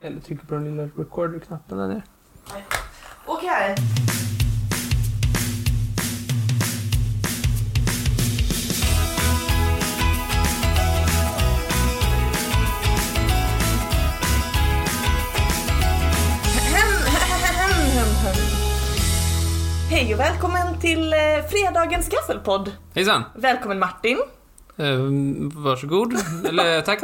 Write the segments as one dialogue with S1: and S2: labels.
S1: Eller trycker på den lilla recorder-knappen där nere.
S2: Okej. Hem, hem, hem, hem. Hej och välkommen till eh, fredagens gaffelpodd.
S1: Hejsan!
S2: Välkommen Martin.
S1: Eh, varsågod. Eller tack.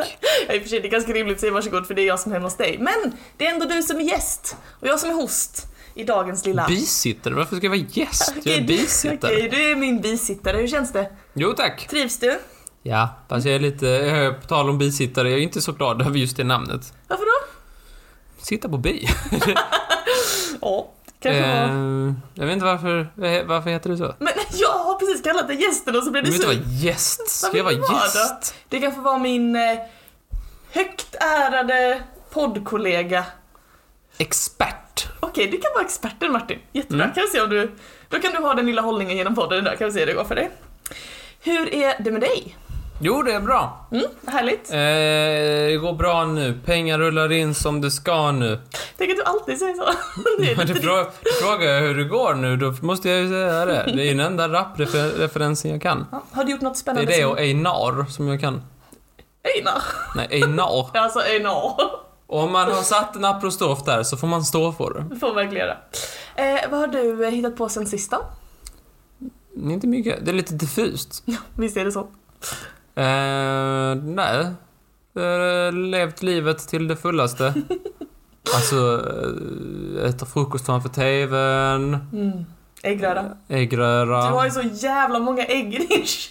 S2: Jag är i och för sig, det är ganska rimligt att säga varsågod för det är jag som är hemma hos dig. Men det är ändå du som är gäst och jag som är host i dagens lilla...
S1: Bisittare? Varför ska jag vara gäst? Jag
S2: Okej,
S1: är
S2: du-
S1: bisittare.
S2: Okej, du är min bisittare. Hur känns det?
S1: Jo tack.
S2: Trivs du?
S1: Ja, fast jag är lite... Eh, på tal om bisittare, jag är inte så glad över just det namnet.
S2: Varför då?
S1: Sitta på bi.
S2: Ja, kanske
S1: Eh,
S2: var...
S1: jag vet inte varför... eh, Varför heter det så?
S2: Men jag har precis kallat dig gästen och så blev
S1: Du
S2: du
S1: vill inte
S2: sur.
S1: vara gäst. Ska
S2: Varför
S1: jag vara
S2: inte vara
S1: gäst?
S2: Det kanske var min eh, högt ärade poddkollega.
S1: Expert.
S2: Okej, det kan vara experten Martin. Jättebra.
S1: Mm.
S2: Kan vi se om du... Då kan du ha den lilla hållningen genom podden idag. Kan vi se hur det går för dig. Hur är det med dig?
S1: Jo, det är bra.
S2: Mm, härligt.
S1: Eh, det går bra nu. Pengar rullar in som det ska nu.
S2: Tänk att du alltid säger så. Det är
S1: Men du
S2: lite
S1: frå- frågar jag hur det går nu, då måste jag ju säga det. Det är den enda rapreferensen jag kan.
S2: Ja, Har du gjort något
S1: Det är
S2: spännande?
S1: det och
S2: som...
S1: Einar som jag kan.
S2: Einar.
S1: Nej, Einar.
S2: Ja, Alltså Einar.
S1: Och om man har satt en apostrof där så får man stå för det.
S2: Det får man verkligen göra. Eh, vad har du eh, hittat på sen sist då?
S1: Det är Inte mycket. Det är lite diffust.
S2: Visst är det så?
S1: Eh, nej. Eh, levt livet till det fullaste. Alltså, eh, äta frukost framför TVn.
S2: Mm. Äggröra.
S1: Äggröra.
S2: Du har ju så jävla många ägg i din kyl.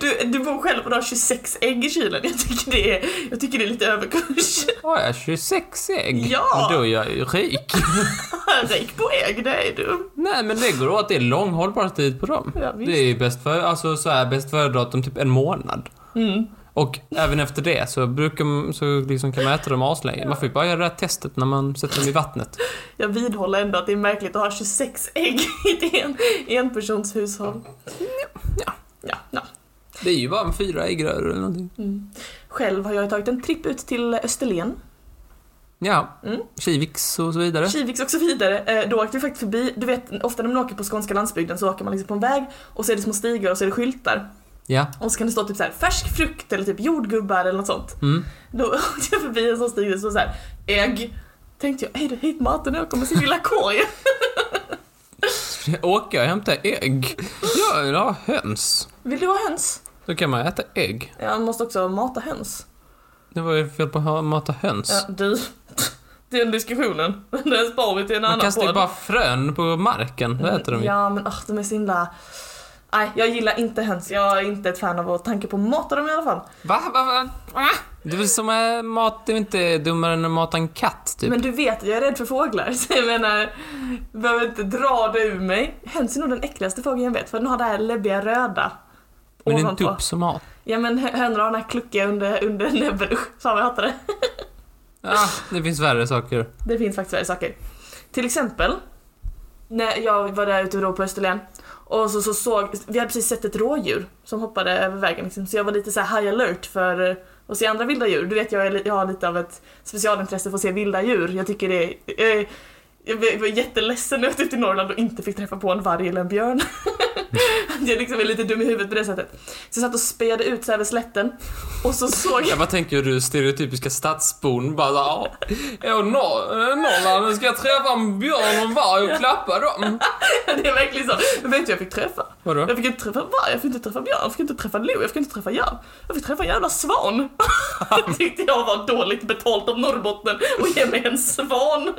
S2: Du, du bor själv och du har 26 ägg i kylen. Jag tycker det är, jag tycker det är lite överkurs.
S1: Har jag 26 ägg?
S2: Ja!
S1: Men Då är jag ju rik.
S2: Rik på ägg, det är du.
S1: Nej, men det går åt. Det är lång hållbarhetstid på dem.
S2: Ja,
S1: Det
S2: visst.
S1: är ju bäst för, alltså så här, bäst före datum typ en månad.
S2: Mm.
S1: Och även efter det så brukar så liksom kan man äta dem aslänge. Man får ju bara göra det här testet när man sätter dem i vattnet.
S2: Jag vidhåller ändå att det är märkligt att ha 26 ägg i en, i en persons hushåll.
S1: Ja.
S2: Ja, ja.
S1: Det är ju bara en fyra äggrör eller någonting.
S2: Mm. Själv har jag tagit en tripp ut till Österlen,
S1: Ja,
S2: Mm.
S1: Kiviks och så vidare.
S2: Kiviks och så vidare. Eh, Då åkte vi faktiskt förbi, du vet ofta när man åker på skånska landsbygden så åker man liksom på en väg och så är det små stigar och så är det skyltar.
S1: Ja.
S2: Och så kan det stå typ så här färsk frukt eller typ jordgubbar eller något sånt.
S1: Mm.
S2: Då åkte jag förbi en sån stig där det stod så här ägg. Tänkte jag, är det hit maten jag kommer se lilla korg?
S1: Åka och hämta ägg. Ja, jag har höns.
S2: Vill du ha höns?
S1: Då kan man äta ägg.
S2: Jag måste också mata höns.
S1: Det var ju fel på att ha- mata höns.
S2: Ja, du. Den diskussionen, den spar vi till en
S1: man
S2: annan
S1: kastar ju
S2: podd.
S1: bara frön på marken. Då äter de ju.
S2: Ja men oh, de är så himla... Nej, jag gillar inte höns. Jag är inte ett fan av att tanke på att mata dem i alla fall.
S1: Va? Va? Va? Va? Det är väl som eh, mat, det är inte dummare än att mata en katt typ.
S2: Men du vet, jag är rädd för fåglar. Så jag menar, jag behöver inte dra det ur mig. Höns är nog den äckligaste fågeln jag vet för den har det här läbbiga röda.
S1: Men det är en
S2: ovanpå.
S1: tupp som mat.
S2: Ja men hö- hönor har den här kluckiga under, under näbben. Usch, fan vad jag hatar det.
S1: Ah, det finns värre saker.
S2: Det finns faktiskt värre saker. Till exempel, när jag var där ute då på Österlen och så, så såg, vi hade precis sett ett rådjur som hoppade över vägen liksom, så jag var lite så här high alert för eh, att se andra vilda djur. Du vet jag, är, li- jag har lite av ett specialintresse för att se vilda djur. Jag tycker det är... Eh, jag var jag var jätteledsen när jag åkte ut i Norrland och inte fick träffa på en varg eller en björn. Att jag liksom är lite dum i huvudet på det sättet. Så jag satt och spejade ut så här över slätten och så såg jag...
S1: Jag bara tänker hur du stereotypiska stadsbon bara ah, jag är norr, eh, Norrland, nu ska jag träffa en björn och en varg och klappa dem. Mm.
S2: Det är verkligen så. Men vet du jag fick träffa?
S1: Vadå?
S2: Jag fick inte träffa varg, jag fick inte träffa björn, jag fick inte träffa lo, jag fick inte träffa järv. Jag fick träffa en jävla svan. Det tyckte jag var dåligt betalt av Norrbotten och ge mig en svan.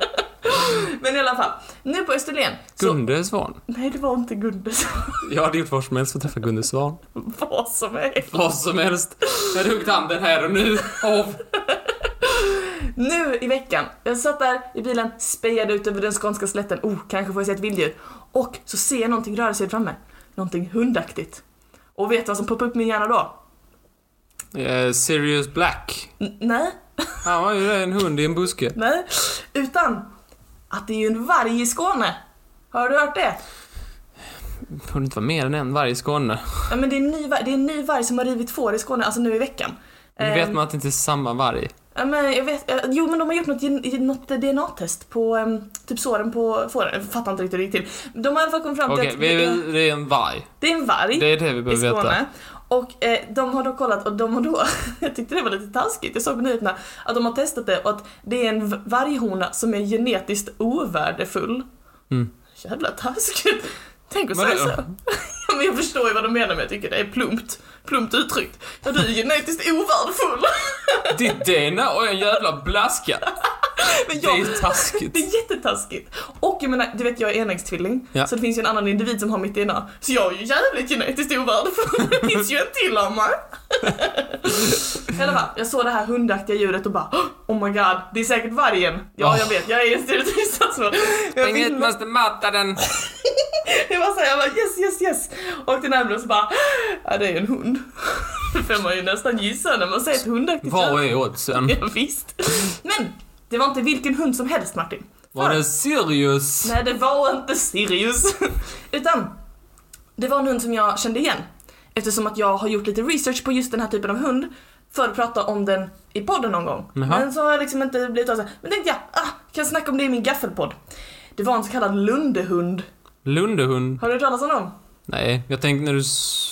S2: Men i alla fall, nu på Österlen så...
S1: Gunde Svan.
S2: Nej det var inte Gunde som
S1: Jag hade gjort vad som helst för att träffa Gunde Svan.
S2: var som är.
S1: Vad som helst. Jag huggt handen här och nu av.
S2: Nu i veckan, jag satt där i bilen, spejade ut över den skånska slätten, oh kanske får jag se ett vilddjur. Och så ser jag någonting röra sig framme. Någonting hundaktigt. Och vet du vad som poppar upp i min hjärna då?
S1: Eh, Sirius Black.
S2: N- nej,
S1: Han var ju en hund i en buske.
S2: Nej, utan att det är ju en varg i Skåne. Har du hört det?
S1: Kunde inte vara mer än en varg i Skåne.
S2: Ja, men det, är en ny varg, det är en ny varg som har rivit får i Skåne, alltså nu i veckan.
S1: Nu vet
S2: Ehm,
S1: man att det inte är samma varg.
S2: Ja, men jag vet, eh, jo men de har gjort något, gen- något DNA-test på em, typ såren på fåren. Jag fattar inte riktigt hur det gick till. De har i alla fall kommit fram till
S1: Okej,
S2: att
S1: vi,
S2: det, är,
S1: vi, det är en varg.
S2: det är en varg
S1: Det är det vi
S2: i
S1: behöver veta.
S2: Skåne. Och eh, de har då kollat och de har då, jag tyckte det var lite taskigt, jag såg på nyheterna att de har testat det och att det är en v- varghona som är genetiskt ovärdefull.
S1: Mm.
S2: Jävla taskigt. Tänk att
S1: Men
S2: säga
S1: det-
S2: så. Ja, Men jag förstår ju vad de menar men jag tycker det är plumpt. Plumpt uttryckt. Ja, du är genetiskt ovärdefull.
S1: Ditt DNA och en jävla blaska.
S2: Men
S1: Det
S2: jag,
S1: är taskigt.
S2: Det är jättetaskigt. Och jag menar, du vet jag är enäggstvilling,
S1: Ja.
S2: så det finns ju en annan individ som har mitt DNA. Så jag är ju jävligt genetiskt ovärdefull. Det finns ju en till av mig. I alla fall, jag såg det här hundaktiga djuret och bara Oh my god, det är säkert vargen. Ja, jag vet, jag är en stereotyp statsråd. Jag fick-
S1: måste mata den.
S2: Det var såhär, jag bara yes, yes, yes. Åkte närmare och så bara Ja, det är en hund. Det får man ju nästan gissa när man säger ett hundaktigt
S1: Vad är oddsen?
S2: Ja, visst. Men, det var inte vilken hund som helst Martin.
S1: Var det Sirius?
S2: Nej, det var inte Sirius. Utan, det var en hund som jag kände igen. Eftersom att jag har gjort lite research på just den här typen av hund för att prata om den i podden någon gång.
S1: Jaha.
S2: Men så har jag liksom inte blivit av så här. Men tänkte jag, ah, kan snacka om det i min gaffelpodd. Det var en så kallad lundehund.
S1: Lundehund?
S2: Har du hört talas om dem?
S1: Nej, jag tänkte när du... s-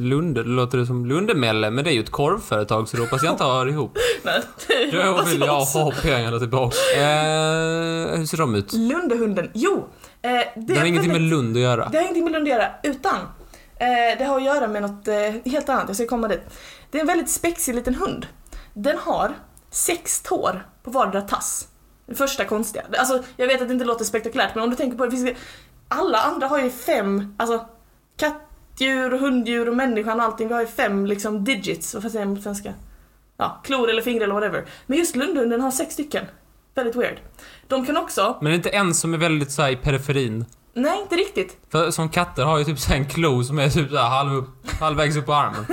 S1: Lunde, det låter det som Lundemelle, men det är ju ett korvföretag så det hoppas jag inte hör ihop.
S2: Nej, det
S1: Då
S2: hoppas
S1: vill jag
S2: också.
S1: ha pengarna tillbaka. Eh, hur ser de ut?
S2: Lundehunden, jo. Eh, det,
S1: Det har
S2: är
S1: ingenting med
S2: väldigt-
S1: Lund att göra.
S2: Det har ingenting med Lund att göra, utan eh, det har att göra med något eh, helt annat. Jag ska komma dit. Det är en väldigt spexig liten hund. Den har sex tår på vardera tass. Det första konstiga. Alltså, jag vet att det inte låter spektakulärt, men om du tänker på det. Finns det alla andra har ju fem, alltså kattdjur och hunddjur och människan och allting. Vi har ju fem liksom digits. Vad säger man på svenska? Ja, klor eller fingrar eller whatever. Men just lundhunden har sex stycken. Väldigt weird. De kan också...
S1: Men det är inte en som är väldigt så här i periferin.
S2: Nej, inte riktigt.
S1: För som katter har ju typ så här en klo som är typ så här halv upp, halvvägs upp på armen.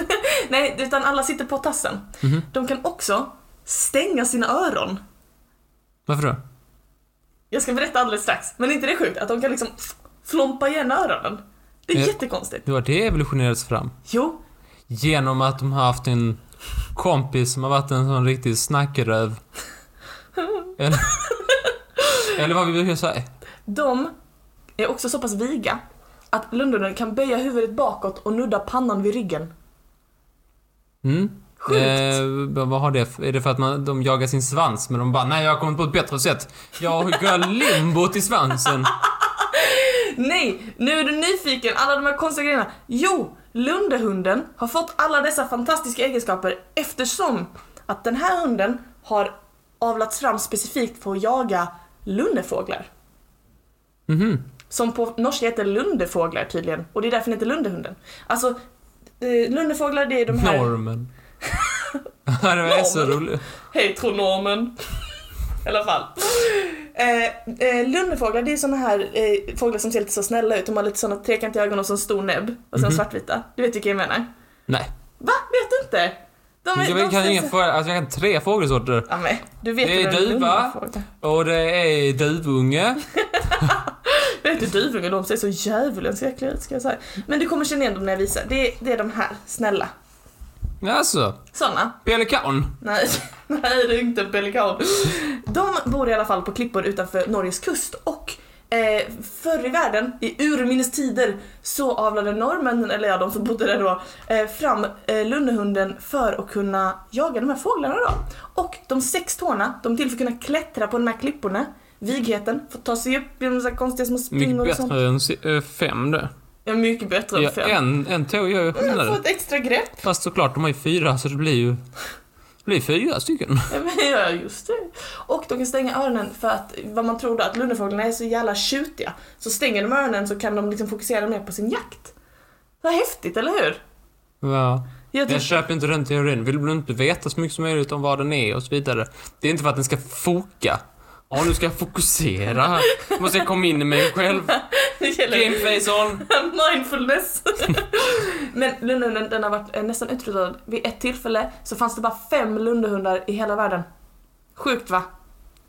S2: Nej, utan alla sitter på tassen.
S1: Mhm.
S2: De kan också stänga sina öron.
S1: Varför då?
S2: Jag ska berätta alldeles strax. Men är inte det sjukt? Att de kan liksom flompa igen öronen. Det är
S1: Ja.
S2: jättekonstigt.
S1: Det var det evolutionerades fram.
S2: Jo,
S1: Genom att de har haft en kompis som har varit en sån riktig snackröv. Eller, eller vad vi brukar säga.
S2: de är också så pass viga att lundunden kan böja huvudet bakåt och nudda pannan vid ryggen.
S1: Mm.
S2: Sjukt.
S1: Eh, vad vad har det för, Är det för att man, de jagar sin svans men de bara nej jag har kommit på ett bättre sätt. Jag går limbo till svansen.
S2: Nej, nu är du nyfiken. Alla de här konstiga grejerna. Jo, lundehunden har fått alla dessa fantastiska egenskaper eftersom att den här hunden har avlats fram specifikt för att jaga lundefåglar.
S1: Mhm.
S2: Som på norska heter lundefåglar tydligen. Och det är därför den heter lundehunden. Alltså, eh, lundefåglar det är de här...
S1: Normen. det är så
S2: Normen.
S1: roligt.
S2: Hej tronormen! I alla fall. Eh, eh, lundefåglar det är såna här eh, fåglar som ser lite så snälla ut. De har lite såna trekantiga ögon och så en stor näbb. Och sen
S1: Mhm.
S2: svartvita. Du vet vilka jag menar?
S1: Nej.
S2: Va? Vet du inte? De
S1: Jag
S2: de
S1: vet- kan
S2: ser
S1: ingen
S2: så-
S1: få, alltså jag kan tre fågelsorter.
S2: Ja, men, du vet
S1: Det
S2: ju
S1: är
S2: vad en
S1: duva.
S2: lundefågel-
S1: Och det är duvunge.
S2: Vet du duvungar, de ser så djävulens äckliga ut ska jag säga. Men du kommer känna igen dem när jag visar. Det är, det är de här, snälla.
S1: Alltså,
S2: Såna.
S1: pelikan.
S2: Nej, nej det är inte en pelikan. De bor i alla fall på klippor utanför Norges kust och eh, förr i världen, i urminnes tider, så avlade norrmännen, eller ja de som bodde där då, eh, fram eh, lundehunden för att kunna jaga de här fåglarna då. Och de sex tårna, de är till för att kunna klättra på de här klipporna, vigheten, för att ta sig upp genom så här konstiga små
S1: Mycket
S2: springor och sånt.
S1: bättre än si- eh, fem det.
S2: Ja, mycket bättre än
S1: Ja,
S2: fem.
S1: en, en tå gör ju
S2: Man får
S1: skillnaden.
S2: ett extra grepp.
S1: Fast såklart, de har ju fyra så det blir ju... Det blir fyra stycken.
S2: Ja, men Ja, just det. Och de kan stänga öronen för att vad man tror då, att lundefåglarna är så jävla tjutiga. Så stänger de öronen så kan de liksom fokusera mer på sin jakt. Vad häftigt, eller hur?
S1: Ja.
S2: Jag
S1: Jag
S2: tycker,
S1: köper inte den teorin. Vill du inte veta så mycket som möjligt om vad den är och så vidare. Det är inte för att den ska foka. Ja, nu ska jag fokusera. Måste jag komma in i mig själv.
S2: det gäller
S1: Gameface on.
S2: mindfulness. men lundhunden den har varit eh, nästan utrotad. Vid ett tillfälle så fanns det bara fem lundehundar i hela världen. Sjukt va?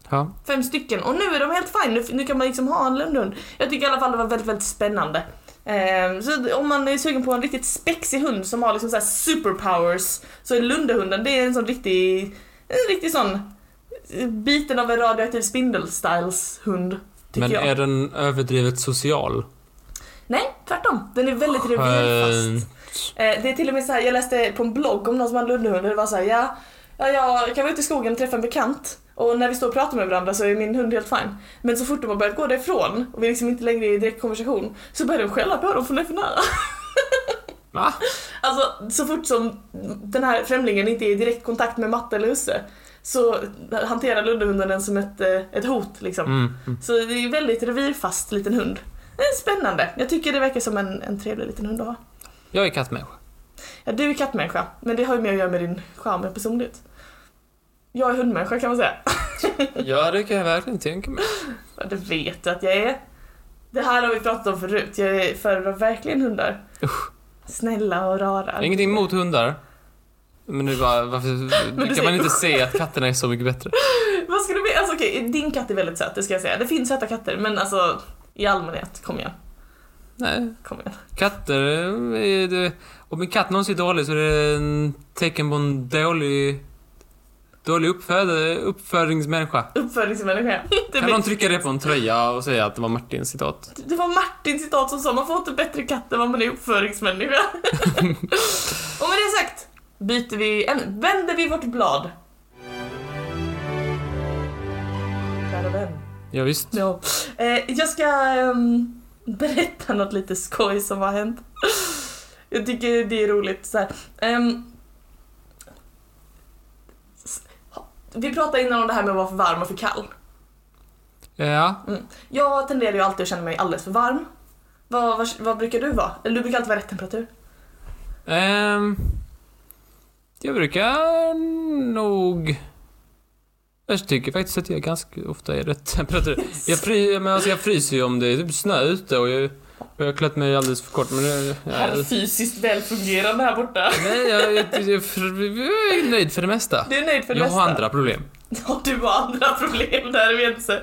S1: Ja.
S2: Fem stycken. Och nu är de helt fine. Nu, nu kan man liksom ha en lundhund. Jag tycker i alla fall det var väldigt, väldigt spännande. Ehm, så om man är sugen på en riktigt spexig hund som har liksom så här superpowers så är lundehunden det är en sån riktig En riktig sån eh, biten av en radioaktiv spindel-styles-hund. Tycker
S1: Men
S2: jag.
S1: är den överdrivet social?
S2: Nej, tvärtom. Den är väldigt revirfast.
S1: Skönt.
S2: Eh, det är till och med så här, jag läste på en blogg om någon som hade lundehund och det var så här, ja, ja, jag kan vara ute i skogen och träffa en bekant och när vi står och pratar med varandra så är min hund helt fin. Men så fort de har börjat gå därifrån och vi liksom inte längre är i direkt konversation så börjar de skälla på dem för det är för nära.
S1: Va?
S2: Alltså så fort som den här främlingen inte är i direkt kontakt med matte eller husse så hanterar lundehunden den som ett, eh, ett hot liksom.
S1: Mm. mm.
S2: Så det är en väldigt revirfast liten hund. Det är spännande. Jag tycker det verkar som en, en trevlig liten hund att ha.
S1: Jag är kattmänniska.
S2: Ja, du är kattmänniska, men det har ju mer att göra med din charm och personlighet. Jag är hundmänniska kan man säga.
S1: Ja, det kan jag verkligen tänka mig.
S2: Ja, det vet du att jag är. Det här har vi pratat om förut. Jag är- föredrar verkligen hundar. Snälla och rara.
S1: Ingenting emot hundar. Men nu bara, varför
S2: Men du
S1: kan man
S2: säger
S1: inte
S2: usch.
S1: se att katterna är så mycket bättre?
S2: Vad ska du med? Alltså okej, din katt är väldigt söt, det ska jag säga. Det finns söta katter, men alltså i allmänhet, kom igen.
S1: Nej,
S2: Kom igen.
S1: katter eh, är det... Om en katt någonsin är dålig så är det en tecken på en dålig... Dålig uppföd, uppfödingsmänniska.
S2: Uppfödningsmänniska. Det,
S1: Kan någon
S2: blir-
S1: trycka det på en tröja och säga att det var Martins citat?
S2: det var Martin citat som sa man får inte bättre katt än vad man är uppfödningsmänniska. och med det sagt byter vi, ämne. vänder vi vårt blad. Kära vän.
S1: Ja, visst.
S2: Ja. Eh, jag ska ehm, berätta något lite skoj som har hänt. jag tycker det är roligt. Så här. Ehm, s- ha- vi pratade innan om det här med att vara för varm och för kall.
S1: Ja,
S2: Jag tenderar ju alltid att känna mig alldeles för varm. Vad, vad, vad brukar du vara? Eller du brukar alltid vara rätt temperatur.
S1: ehm... Jag brukar nog... Jag tycker faktiskt att jag ganska ofta är rätt temperatur. Jag, fry, men alltså jag fryser ju om det är typ snö ute och jag, och jag har klätt mig alldeles för kort men... Jag,
S2: Här är
S1: jag,
S2: fysiskt välfungerande här borta.
S1: nej, jag, jag, jag, jag är nöjd för det mesta.
S2: Du är nöjd för det
S1: jag
S2: mesta.
S1: har andra problem.
S2: Ja, du har andra problem där, vet inte. så.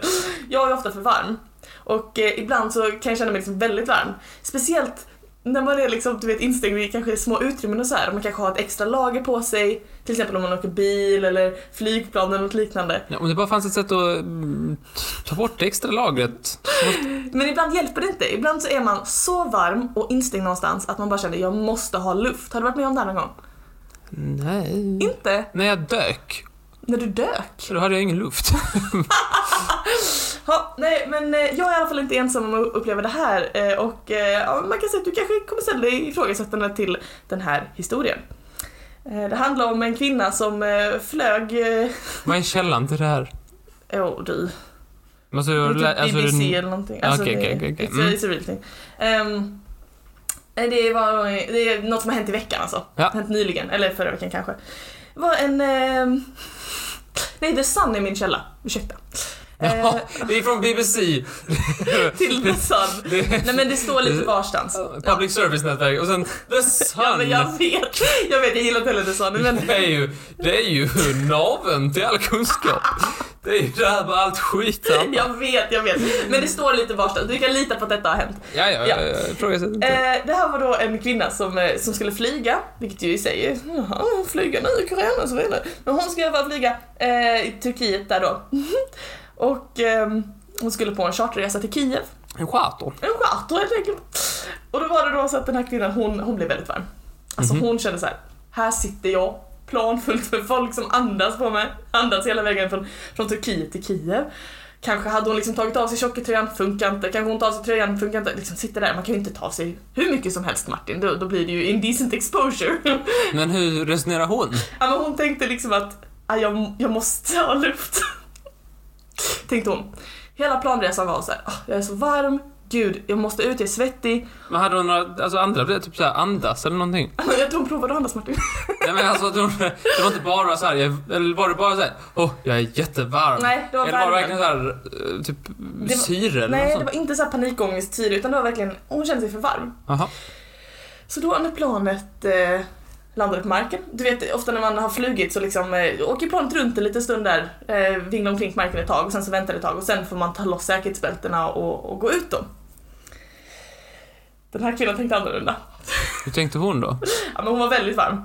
S2: Jag är ofta för varm. Och eh, ibland så kan jag känna mig liksom väldigt varm. Speciellt när man är liksom, du vet, instängd i kanske små utrymmen och så här. Och man kanske har ett extra lager på sig. Till exempel om man åker bil eller flygplan eller något liknande.
S1: Ja, om det bara fanns ett sätt att mm, ta bort det extra lagret.
S2: Men ibland hjälper det inte. Ibland så är man så varm och instängd någonstans att man bara känner jag måste ha luft. Har du varit med om det här någon gång?
S1: Nej.
S2: Inte
S1: När jag dök,
S2: när du dök.
S1: då hade jag ingen luft.
S2: Ja, nej men eh, jag är i alla fall inte ensam om att uppleva det här eh, och eh, ja, man kan säga att du kanske kommer ställa dig ifrågasättande till den här historien. Eh, Det handlar om en kvinna som eh, flög... eh,
S1: Vad är källan till det här?
S2: Åh du.
S1: Alltså,
S2: Det
S1: jag
S2: är
S1: lä-
S2: typ
S1: alltså,
S2: BBC
S1: den-
S2: eller någonting.
S1: Ja,
S2: Alltså,
S1: okej,
S2: det-
S1: okej, okej, okej.
S2: it's a-
S1: Mm.
S2: it's a real thing. Ehm, eh, det, var, det är något som har hänt i veckan alltså.
S1: Ja.
S2: Hänt nyligen, eller förra veckan kanske. Det var en... ehm, nej, The Sun är min källa. Ursäkta. Eh,
S1: Ja, det är från BBC.
S2: till The Sun.
S1: Det är
S2: Nej men det står lite varstans.
S1: Public Service-nätverk och sen The Sun.
S2: Ja, men jag vet, jag vet, jag gillar inte heller det sa ni, men
S1: Det är ju, det är ju naveln till all kunskap. Det är ju det här med allt skit. Ja,
S2: jag vet, jag vet. Men det står lite varstans, du kan lita på att detta har hänt.
S1: ja, ja.
S2: Ja.
S1: jag ifrågasätter inte.
S2: Eh, det här var då en kvinna som, eh, som skulle flyga, vilket ju i sig är, jaha, hon flyger nu, corona och så vidare. Men hon skulle i alla fall flyga eh, i Turkiet där då. Och ehm, hon skulle på en charterresa till Kiev.
S1: En charter.
S2: En charter helt enkelt. Och då var det då så att den här kvinnan, hon, hon blev väldigt varm. Alltså
S1: Mhm.
S2: hon kände så här, här sitter jag, planfullt med folk som andas på mig. Andas hela vägen från, från Turkiet till Kiev. Kanske hade hon liksom tagit av sig tjocktröjan, funkar inte. Kanske hon tar av sig tröjan, funkar inte. Liksom sitter där, man kan ju inte ta av sig hur mycket som helst Martin, då, då blir det ju indecent exposure.
S1: Men hur resonerar hon?
S2: Ja, men hon tänkte liksom att "Ah, jag, jag måste ha luft. tänkte hon. Hela planresan var så här, "Ah, jag är så varm, gud, jag måste ut, jag är svettig.
S1: Men hade hon några, alltså andra, typ såhär andas eller någonting?
S2: Alltså, Jag tror hon provade att andas Martin.
S1: Nej men alltså, att hon, det var inte bara såhär, jag- eller var det bara såhär, åh, jag är jättevarm.
S2: Nej, det var
S1: eller var det
S2: värmen.
S1: verkligen såhär, eh, typ
S2: Det var-
S1: syre eller något
S2: Nej, det
S1: sånt?
S2: var inte så här panikångest tid utan det var verkligen, hon kände sig för varm.
S1: Jaha.
S2: Så då när planet eh, landade på marken, du vet ofta när man har flugit så liksom eh, åker planet runt en liten stund där, eh, vinglar omkring på marken ett tag och sen så väntar det ett tag och sen får man ta loss säkerhetsbältena och, och gå ut dem. Den här killen tänkte annorlunda.
S1: Hur tänkte hon då?
S2: Ja, men hon var väldigt varm.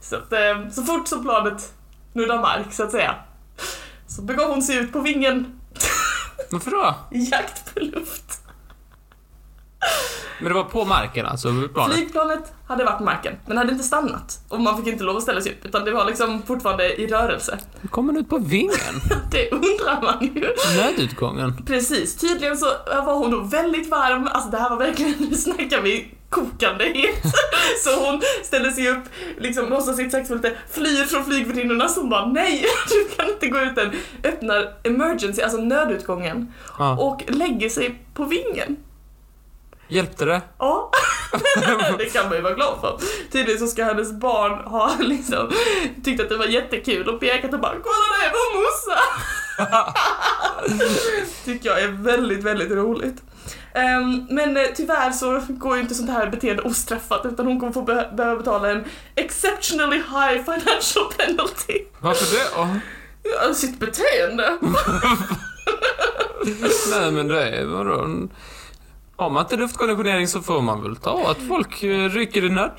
S2: Så, att, eh, så fort som planet nudda mark så att säga. Så begav hon sig ut på vingen
S1: Varför då?
S2: i jakt på luft.
S1: Men det var på marken alltså, planet?
S2: Flygplanet hade varit på marken, men hade inte stannat. Och man fick inte lov att ställa sig upp, utan det var liksom fortfarande i rörelse.
S1: Hur kommer den ut på vingen?
S2: Det undrar man ju.
S1: Nödutgången?
S2: Precis, tydligen så var hon då väldigt varm, alltså det här var verkligen, nu snackar vi kokande het. Så hon ställde sig upp, liksom låtsas sitt saxofon lite, flyr från flygvärdinnorna som bara nej, du kan inte gå ut än. Öppnar emergency, alltså nödutgången,
S1: Ja.
S2: och lägger sig på vingen.
S1: Hjälpte det?
S2: Ja, det kan man ju vara glad för. Tydligen så ska hennes barn ha liksom tyckt att det var jättekul och pekat och bara kolla det var morsa! Tycker jag är väldigt, väldigt roligt. Ehm, men eh, tyvärr så går ju inte sånt här beteende ostraffat utan hon kommer få be- behöva betala en exceptionally high financial penalty.
S1: Varför det? Åh.
S2: Ja, sitt beteende.
S1: Nej men det är vadå? Har man inte luftkonditionering så får man väl ta att folk eh, rycker i nöd.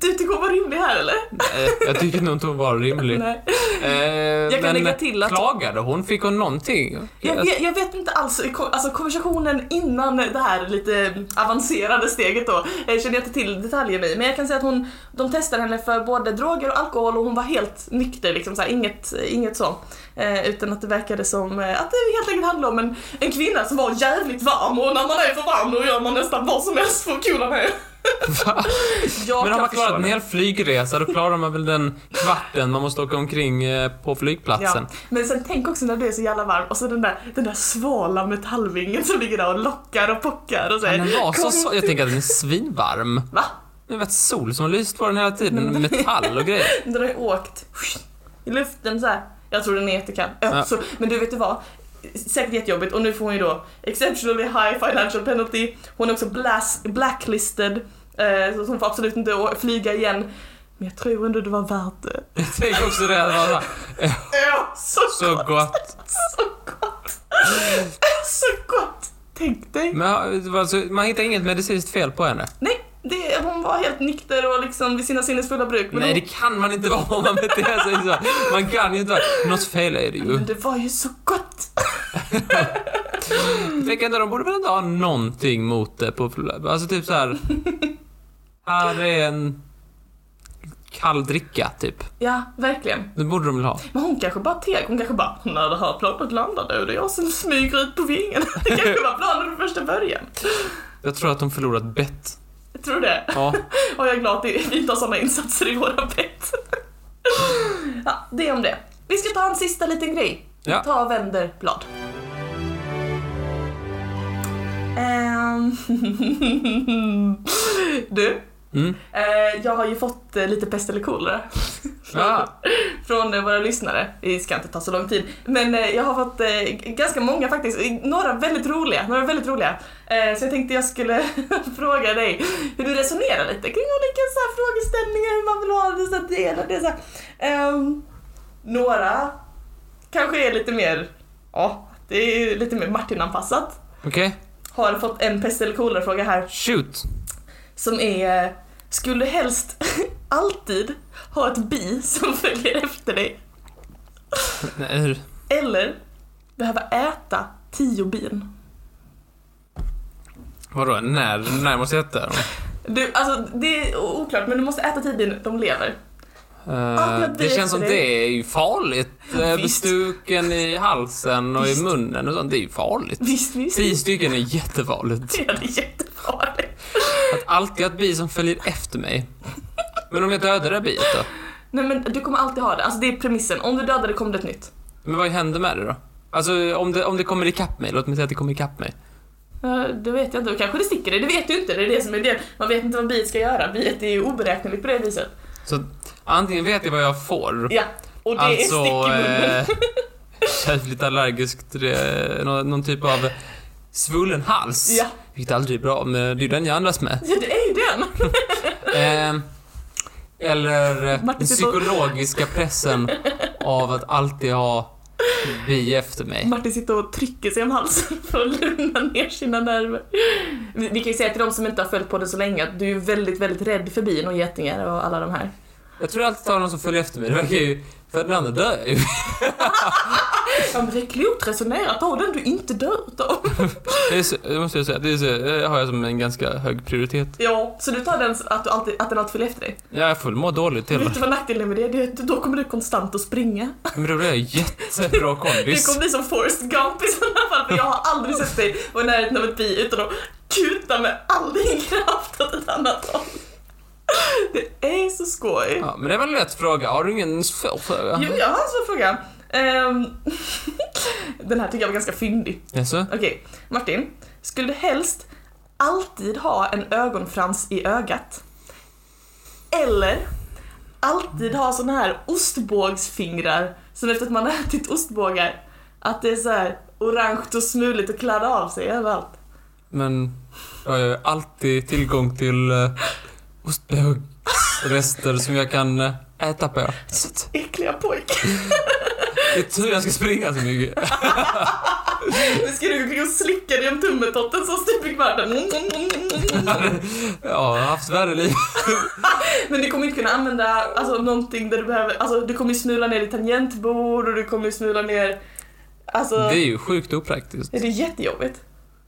S2: Du tycker hon var rimlig här eller?
S1: Nej, jag tycker nog inte hon var rimlig.
S2: Nej.
S1: Eh,
S2: Jag kan
S1: men
S2: lägga till att-
S1: klagade hon? Fick hon någonting?
S2: Jag vet, jag vet inte alls, ko- alltså konversationen innan det här lite avancerade steget då eh, känner jag inte till detaljerna i men jag kan säga att hon, de testade henne för både droger och alkohol och hon var helt nykter liksom så här, inget, inget så. Eh, utan att det verkade som eh, att det helt enkelt handlade om en, en kvinna som var jävligt varm och när man är för varm då gör man nästan vad som helst för att coola ner.
S1: Va?
S2: Jag
S1: Men har
S2: kan
S1: man
S2: förstå
S1: klarat en
S2: det.
S1: hel flygresa då klarar man väl den kvarten man måste åka omkring eh, på flygplatsen.
S2: Ja. Men sen tänk också när du är så jävla varm och så den där, den där svala metallvingen som ligger där och lockar och pockar och
S1: Men
S2: säger
S1: den var så,
S2: "Kom
S1: så, jag
S2: hit."
S1: tänker att den är svinvarm.
S2: Va?
S1: Det var ett sol som har lyst på den hela tiden,
S2: Mm.
S1: metall och grejer.
S2: Den har ju åkt i luften så här. Jag tror den är jättekall. Ö,
S1: Ja.
S2: så, men du vet du vad? Säkert jättejobbigt och nu får hon ju då exceptionally high financial penalty. Hon är också blas- blacklisted. Eh, så hon får absolut inte å- flyga igen. Men jag tror ändå det var värt det.
S1: Jag tänker också det, att det var
S2: Ö, så,
S1: så
S2: gott!
S1: gott.
S2: Så gott! så gott! Tänk dig.
S1: Men det var alltså, man hittar inget medicinskt fel på henne?
S2: Nej, det, hon var helt nykter och liksom vid sina sinnesfulla bruk. Men
S1: Nej, det
S2: hon,
S1: kan man inte vara om man beter sig så. Man kan ju inte vara... Något fel är det ju.
S2: men det var ju så gott!
S1: Jag tänker ändå, de borde väl inte ha någonting mot det på... Alltså typ så här. Här är en kall dricka, typ.
S2: Ja, verkligen.
S1: Det borde de väl ha?
S2: Men hon kanske bara teg, hon kanske bara när det här planet landade och det är jag som smyger ut på vingen. Det kanske var planen från första början.
S1: Jag tror att de förlorat bett.
S2: Jag tror det.
S1: Ja.
S2: Och jag är glad att vi inte har sådana insatser i våra bett. Ja, det om det. Vi ska ta en sista liten grej.
S1: Ja.
S2: Ta och vänder blad. Ehm, du,
S1: Mm.
S2: eh, jag har ju fått eh, lite pest eller kolera
S1: Ja.
S2: från eh, våra lyssnare. Det ska inte ta så lång tid. Men eh, jag har fått eh, g- ganska många faktiskt. Eh, Några väldigt roliga. Några väldigt roliga. Eh, så jag tänkte jag skulle fråga dig hur du resonerar lite kring olika så här, frågeställningar, hur man vill ha det, så här, det ena, det så här. Ehm, Några kanske är lite mer, ja, det är lite mer Martin-anpassat.
S1: Okej.
S2: Har fått en pest eller kolera-fråga här
S1: Shoot.
S2: som är eh, Skulle du helst alltid ha ett bi som följer efter dig?
S1: Nej, hur?
S2: Eller behöva äta tio bin.
S1: Vadå, när, när måste jag äta dem?
S2: Du, alltså det är o- oklart men du måste äta tio bin, de lever.
S1: Eh,
S2: Ah, jag
S1: det
S2: vet
S1: känns som
S2: det.
S1: det är ju farligt. Eh,
S2: Visst.
S1: Bestuken i halsen och
S2: Visst.
S1: i munnen och sånt, det är ju farligt.
S2: Visst, visst.
S1: Tio stycken är jättefarligt.
S2: Ja, det är jättefarligt.
S1: Att alltid ha ett bi som följer efter mig. Men om jag dödar det här biet då?
S2: Nej men du kommer alltid ha det, alltså det är premissen. Om du dödar det kommer det ett nytt.
S1: Men vad händer med det då? Alltså om det, om det kommer ikapp mig, låt mig säga att det kommer ikapp mig.
S2: Ja, Det vet jag inte, Då kanske det sticker dig, det vet du inte. Det är det som är det. Man vet inte vad biet ska göra, biet är ju oberäkneligt på det viset.
S1: Så antingen vet jag vad jag får,
S2: Ja, och det
S1: alltså...
S2: är stick i munnen.
S1: eh, Jävligt allergiskt, eh, någon, någon typ av svullen hals.
S2: Ja.
S1: Vilket aldrig är bra, men det är den jag andas med.
S2: Ja, det är ju den.
S1: Eh, eller eh, den
S2: Martin sitter och-
S1: psykologiska pressen av att alltid ha bi efter mig.
S2: Martin sitter och trycker sig om halsen för att lugna ner sina nerver. Vi, vi kan ju säga till de som inte har följt på det så länge att du är ju väldigt, väldigt rädd för bin och getingar och alla de här.
S1: Jag tror jag alltid tar någon som följer efter mig. Det verkar ju... För den andra dör jag ju.
S2: Ja, men det är klokt resonerat. Då har den du inte dött av.
S1: Det, är så, det måste jag säga. Det, är så, det har jag som en ganska hög prioritet.
S2: Ja, så du tar den s- att, du alltid, att den alltid följer efter dig?
S1: Jag får väl må dåligt hela...
S2: Vet du vad nackdelen med det är? det? är att Då kommer du konstant att springa.
S1: Men då blir jag jättebra
S2: Det
S1: kompis.
S2: kommer bli som Forrest Gump i sådana fall, för jag har aldrig sett dig vara i närheten av ett bi utan att kuta med all din kraft åt ett annat håll. Det är så skoj.
S1: Ja, men det var en lätt fråga. Har du ingen svår fråga?
S2: Jo, jag har en svår fråga. Ehm, den här tycker jag var ganska fyndig.
S1: Jaså?
S2: Okej, Martin. Skulle du helst alltid ha en ögonfrans i ögat? Eller alltid ha såna här ostbågsfingrar som efter att man har ätit ostbågar, att det är så här orange och smuligt och kladdar av sig överallt?
S1: Men jag har ju alltid tillgång till uh, ostbågsrester som jag kan eh, äta på. Så
S2: Äckliga pojk.
S1: Det är tur jag ska springa så mycket.
S2: Nu ska du gå och slicka dig om tummetotten som stup i världen. Mm,
S1: Ja, jag har haft värre liv.
S2: Men du kommer inte kunna använda alltså, någonting där du behöver, alltså du kommer ju smula ner i tangentbord och du kommer ju smula ner, alltså
S1: Det
S2: det...
S1: är ju sjukt opraktiskt.
S2: är det jättejobbigt?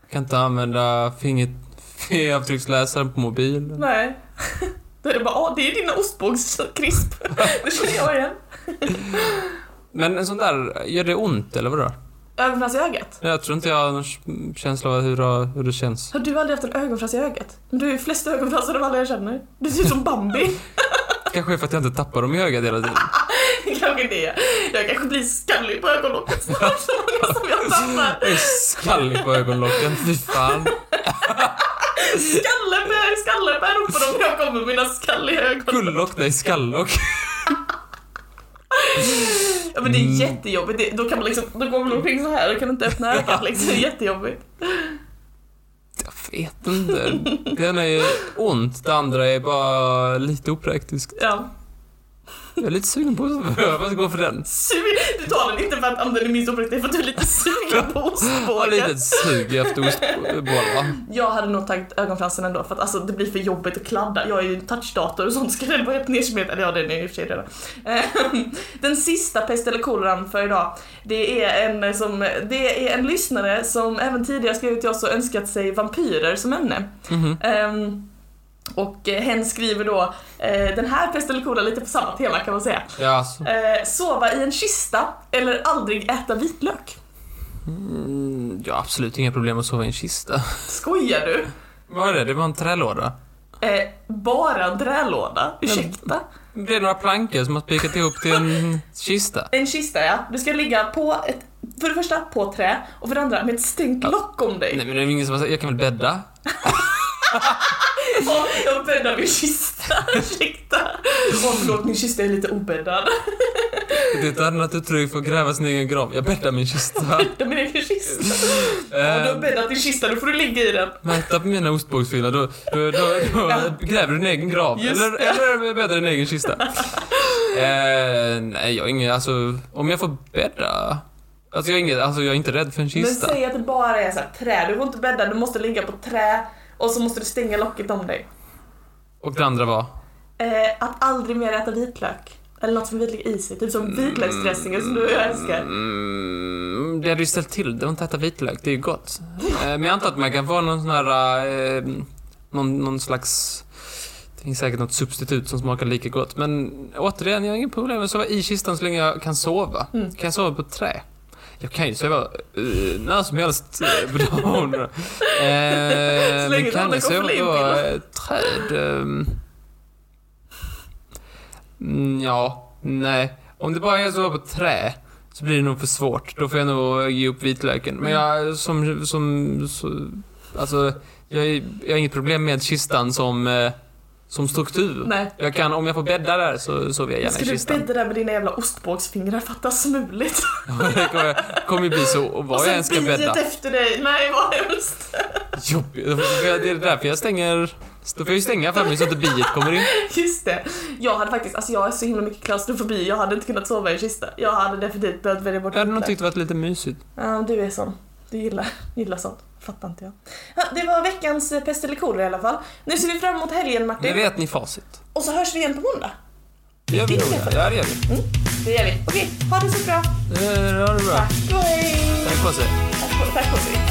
S1: Jag kan inte använda fingret fingeravtrycksläsaren på mobilen.
S2: Nej. Då är det bara, ah det är dina ostbågskrisp. det känner jag igen.
S1: Men en sån där, gör det ont eller vadå?
S2: Ögonfrans i ögat?
S1: Jag tror inte jag har någon känsla av hur, hur det känns.
S2: Har du aldrig haft en ögonfrans i ögat? Men du är ju flest ögonfransar av alla jag känner. Du ser ut som Bambi.
S1: Kanske för att jag inte tappar dem i ögat hela tiden.
S2: kanske det. Jag kanske blir skallig på ögonlocket snart så många som jag tappar.
S1: Jag är skallig på ögonlocken, fy fan.
S2: Skalle på skalle på ropar de när jag kommer med mina skalliga ögon.
S1: Kullock, nej skallock.
S2: Ja men det är
S1: Mm.
S2: jättejobbigt, det, då kan man liksom, då går man omkring så här och kan inte öppna ögat liksom, det är jättejobbigt.
S1: Jag vet inte. Det ena är ont, det andra är bara lite opraktiskt.
S2: Ja.
S1: Jag är lite sugen på att gå för den.
S2: Sugen, du tar den inte för att om den är minst operativ, för att du är lite sugen på
S1: Bara lite
S2: ostbågar.
S1: ett sug efter ostbollar.
S2: Jag hade nog tagit ögonfransen ändå för att alltså det blir för jobbigt att kladda, jag är ju en touchdator och sånt ska den vara helt nersmetad, eller ja den är ju i och för sig redan. Ehm, Den sista pest eller koleran för idag, det är en som, det är en lyssnare som även tidigare skrev till oss och önskat sig vampyrer som ämne.
S1: Mhm.
S2: Ehm, och eh, hen skriver då, eh, den här pest eller kolera lite på samma tema kan man säga.
S1: Ja, alltså.
S2: Eh, sova i en kista eller aldrig äta vitlök.
S1: Mm, jag har absolut inga problem att sova i en kista.
S2: Skojar du?
S1: Vad är det? Det var en trälåda.
S2: Eh, bara en trälåda?
S1: Mm.
S2: Ursäkta?
S1: Det är några plankor som har spikat ihop till en kista.
S2: En kista ja, du ska ligga på ett, för det första på trä och för det andra med ett stängt lock om dig.
S1: Nej men det är ingen som har sagt, jag kan väl bädda?
S2: Ja, jag bäddar min kista, ursäkta. Åh förlåt, min kista är lite obäddad.
S1: Det är ett annat uttryck för att gräva sin egen grav. Jag bäddar min kista.
S2: Det är min egen kista. Om du har
S1: Eh,
S2: bäddat din kista, då får du ligga i den.
S1: Mäta på mina ostbågsfingrar, då, då, då,
S2: Ja.
S1: då gräver du din egen grav.
S2: Just
S1: Eller,
S2: det.
S1: eller bäddar din egen kista. eh, nej, jag har inget, alltså om jag får bädda. Alltså jag, är inget, alltså jag är inte rädd för en
S2: Men
S1: kista.
S2: säg att det bara är så här, trä, du får inte bädda, du måste ligga på trä och så måste du stänga locket om dig.
S1: Och det andra var?
S2: Eh, att aldrig mer äta vitlök. Eller något som vitlök i sig, typ som vitlöksdressingen som du älskar.
S1: Mm, det hade ju ställt till det, att inte äta vitlök, det är ju gott. Eh, men jag antar att man kan få någon sån här, eh, någon, någon slags, det finns säkert något substitut som smakar lika gott. Men återigen, jag har inga problem med att sova i kistan så länge jag kan sova.
S2: Mm.
S1: Kan jag sova på ett trä? Jag kan ju sova eh, när som helst eh, på dagen. Eh, men
S2: länge
S1: kan
S2: du
S1: jag sova
S2: aldrig
S1: på
S2: kommer bli
S1: eh, träd? ehm, mm, ja, nej. Om det bara är att sova på trä så blir det nog för svårt. Då får jag nog ge upp vitlöken. Men
S2: Mm.
S1: jag, som, som, så, alltså, jag, är- jag har inget problem med kistan som, eh, som struktur.
S2: Nej.
S1: Jag kan, om jag får bädda där så sover jag gärna
S2: Ska
S1: i
S2: du
S1: kistan.
S2: bädda där med dina jävla ostbågsfingrar? Fatta smuligt.
S1: det kommer- kommer ju bli så, och vad jag än ska bädda.
S2: efter dig. Nej, vad hemskt.
S1: Jobbigt. Då får jag- Det är därför jag stänger, då får jag ju stänga för mig så att inte biet kommer in.
S2: Just det. Jag hade faktiskt, alltså jag är så himla mycket klaustrofobi. Jag hade inte kunnat sova i en kista. Jag hade definitivt behövt välja bort
S1: Jag hade nog
S2: vitlök.
S1: tyckt det varit lite mysigt.
S2: Ja, du är sån. Du gillar, gillar sånt. Fattar inte jag. Ja, det var veckans eh, pest eller kolera i alla fall. Nu ser vi fram emot helgen
S1: Nu
S2: Martin.
S1: vet ni facit.
S2: Och så hörs vi igen på måndag.
S1: Det gör vi nog.
S2: Det
S1: Ja, det gör vi.
S2: Det gör vi. Okej, ha det så bra.
S1: Eh, Ha det bra.
S2: Tack och hej.
S1: Tack på sig.
S2: Tack och- Tack och hej.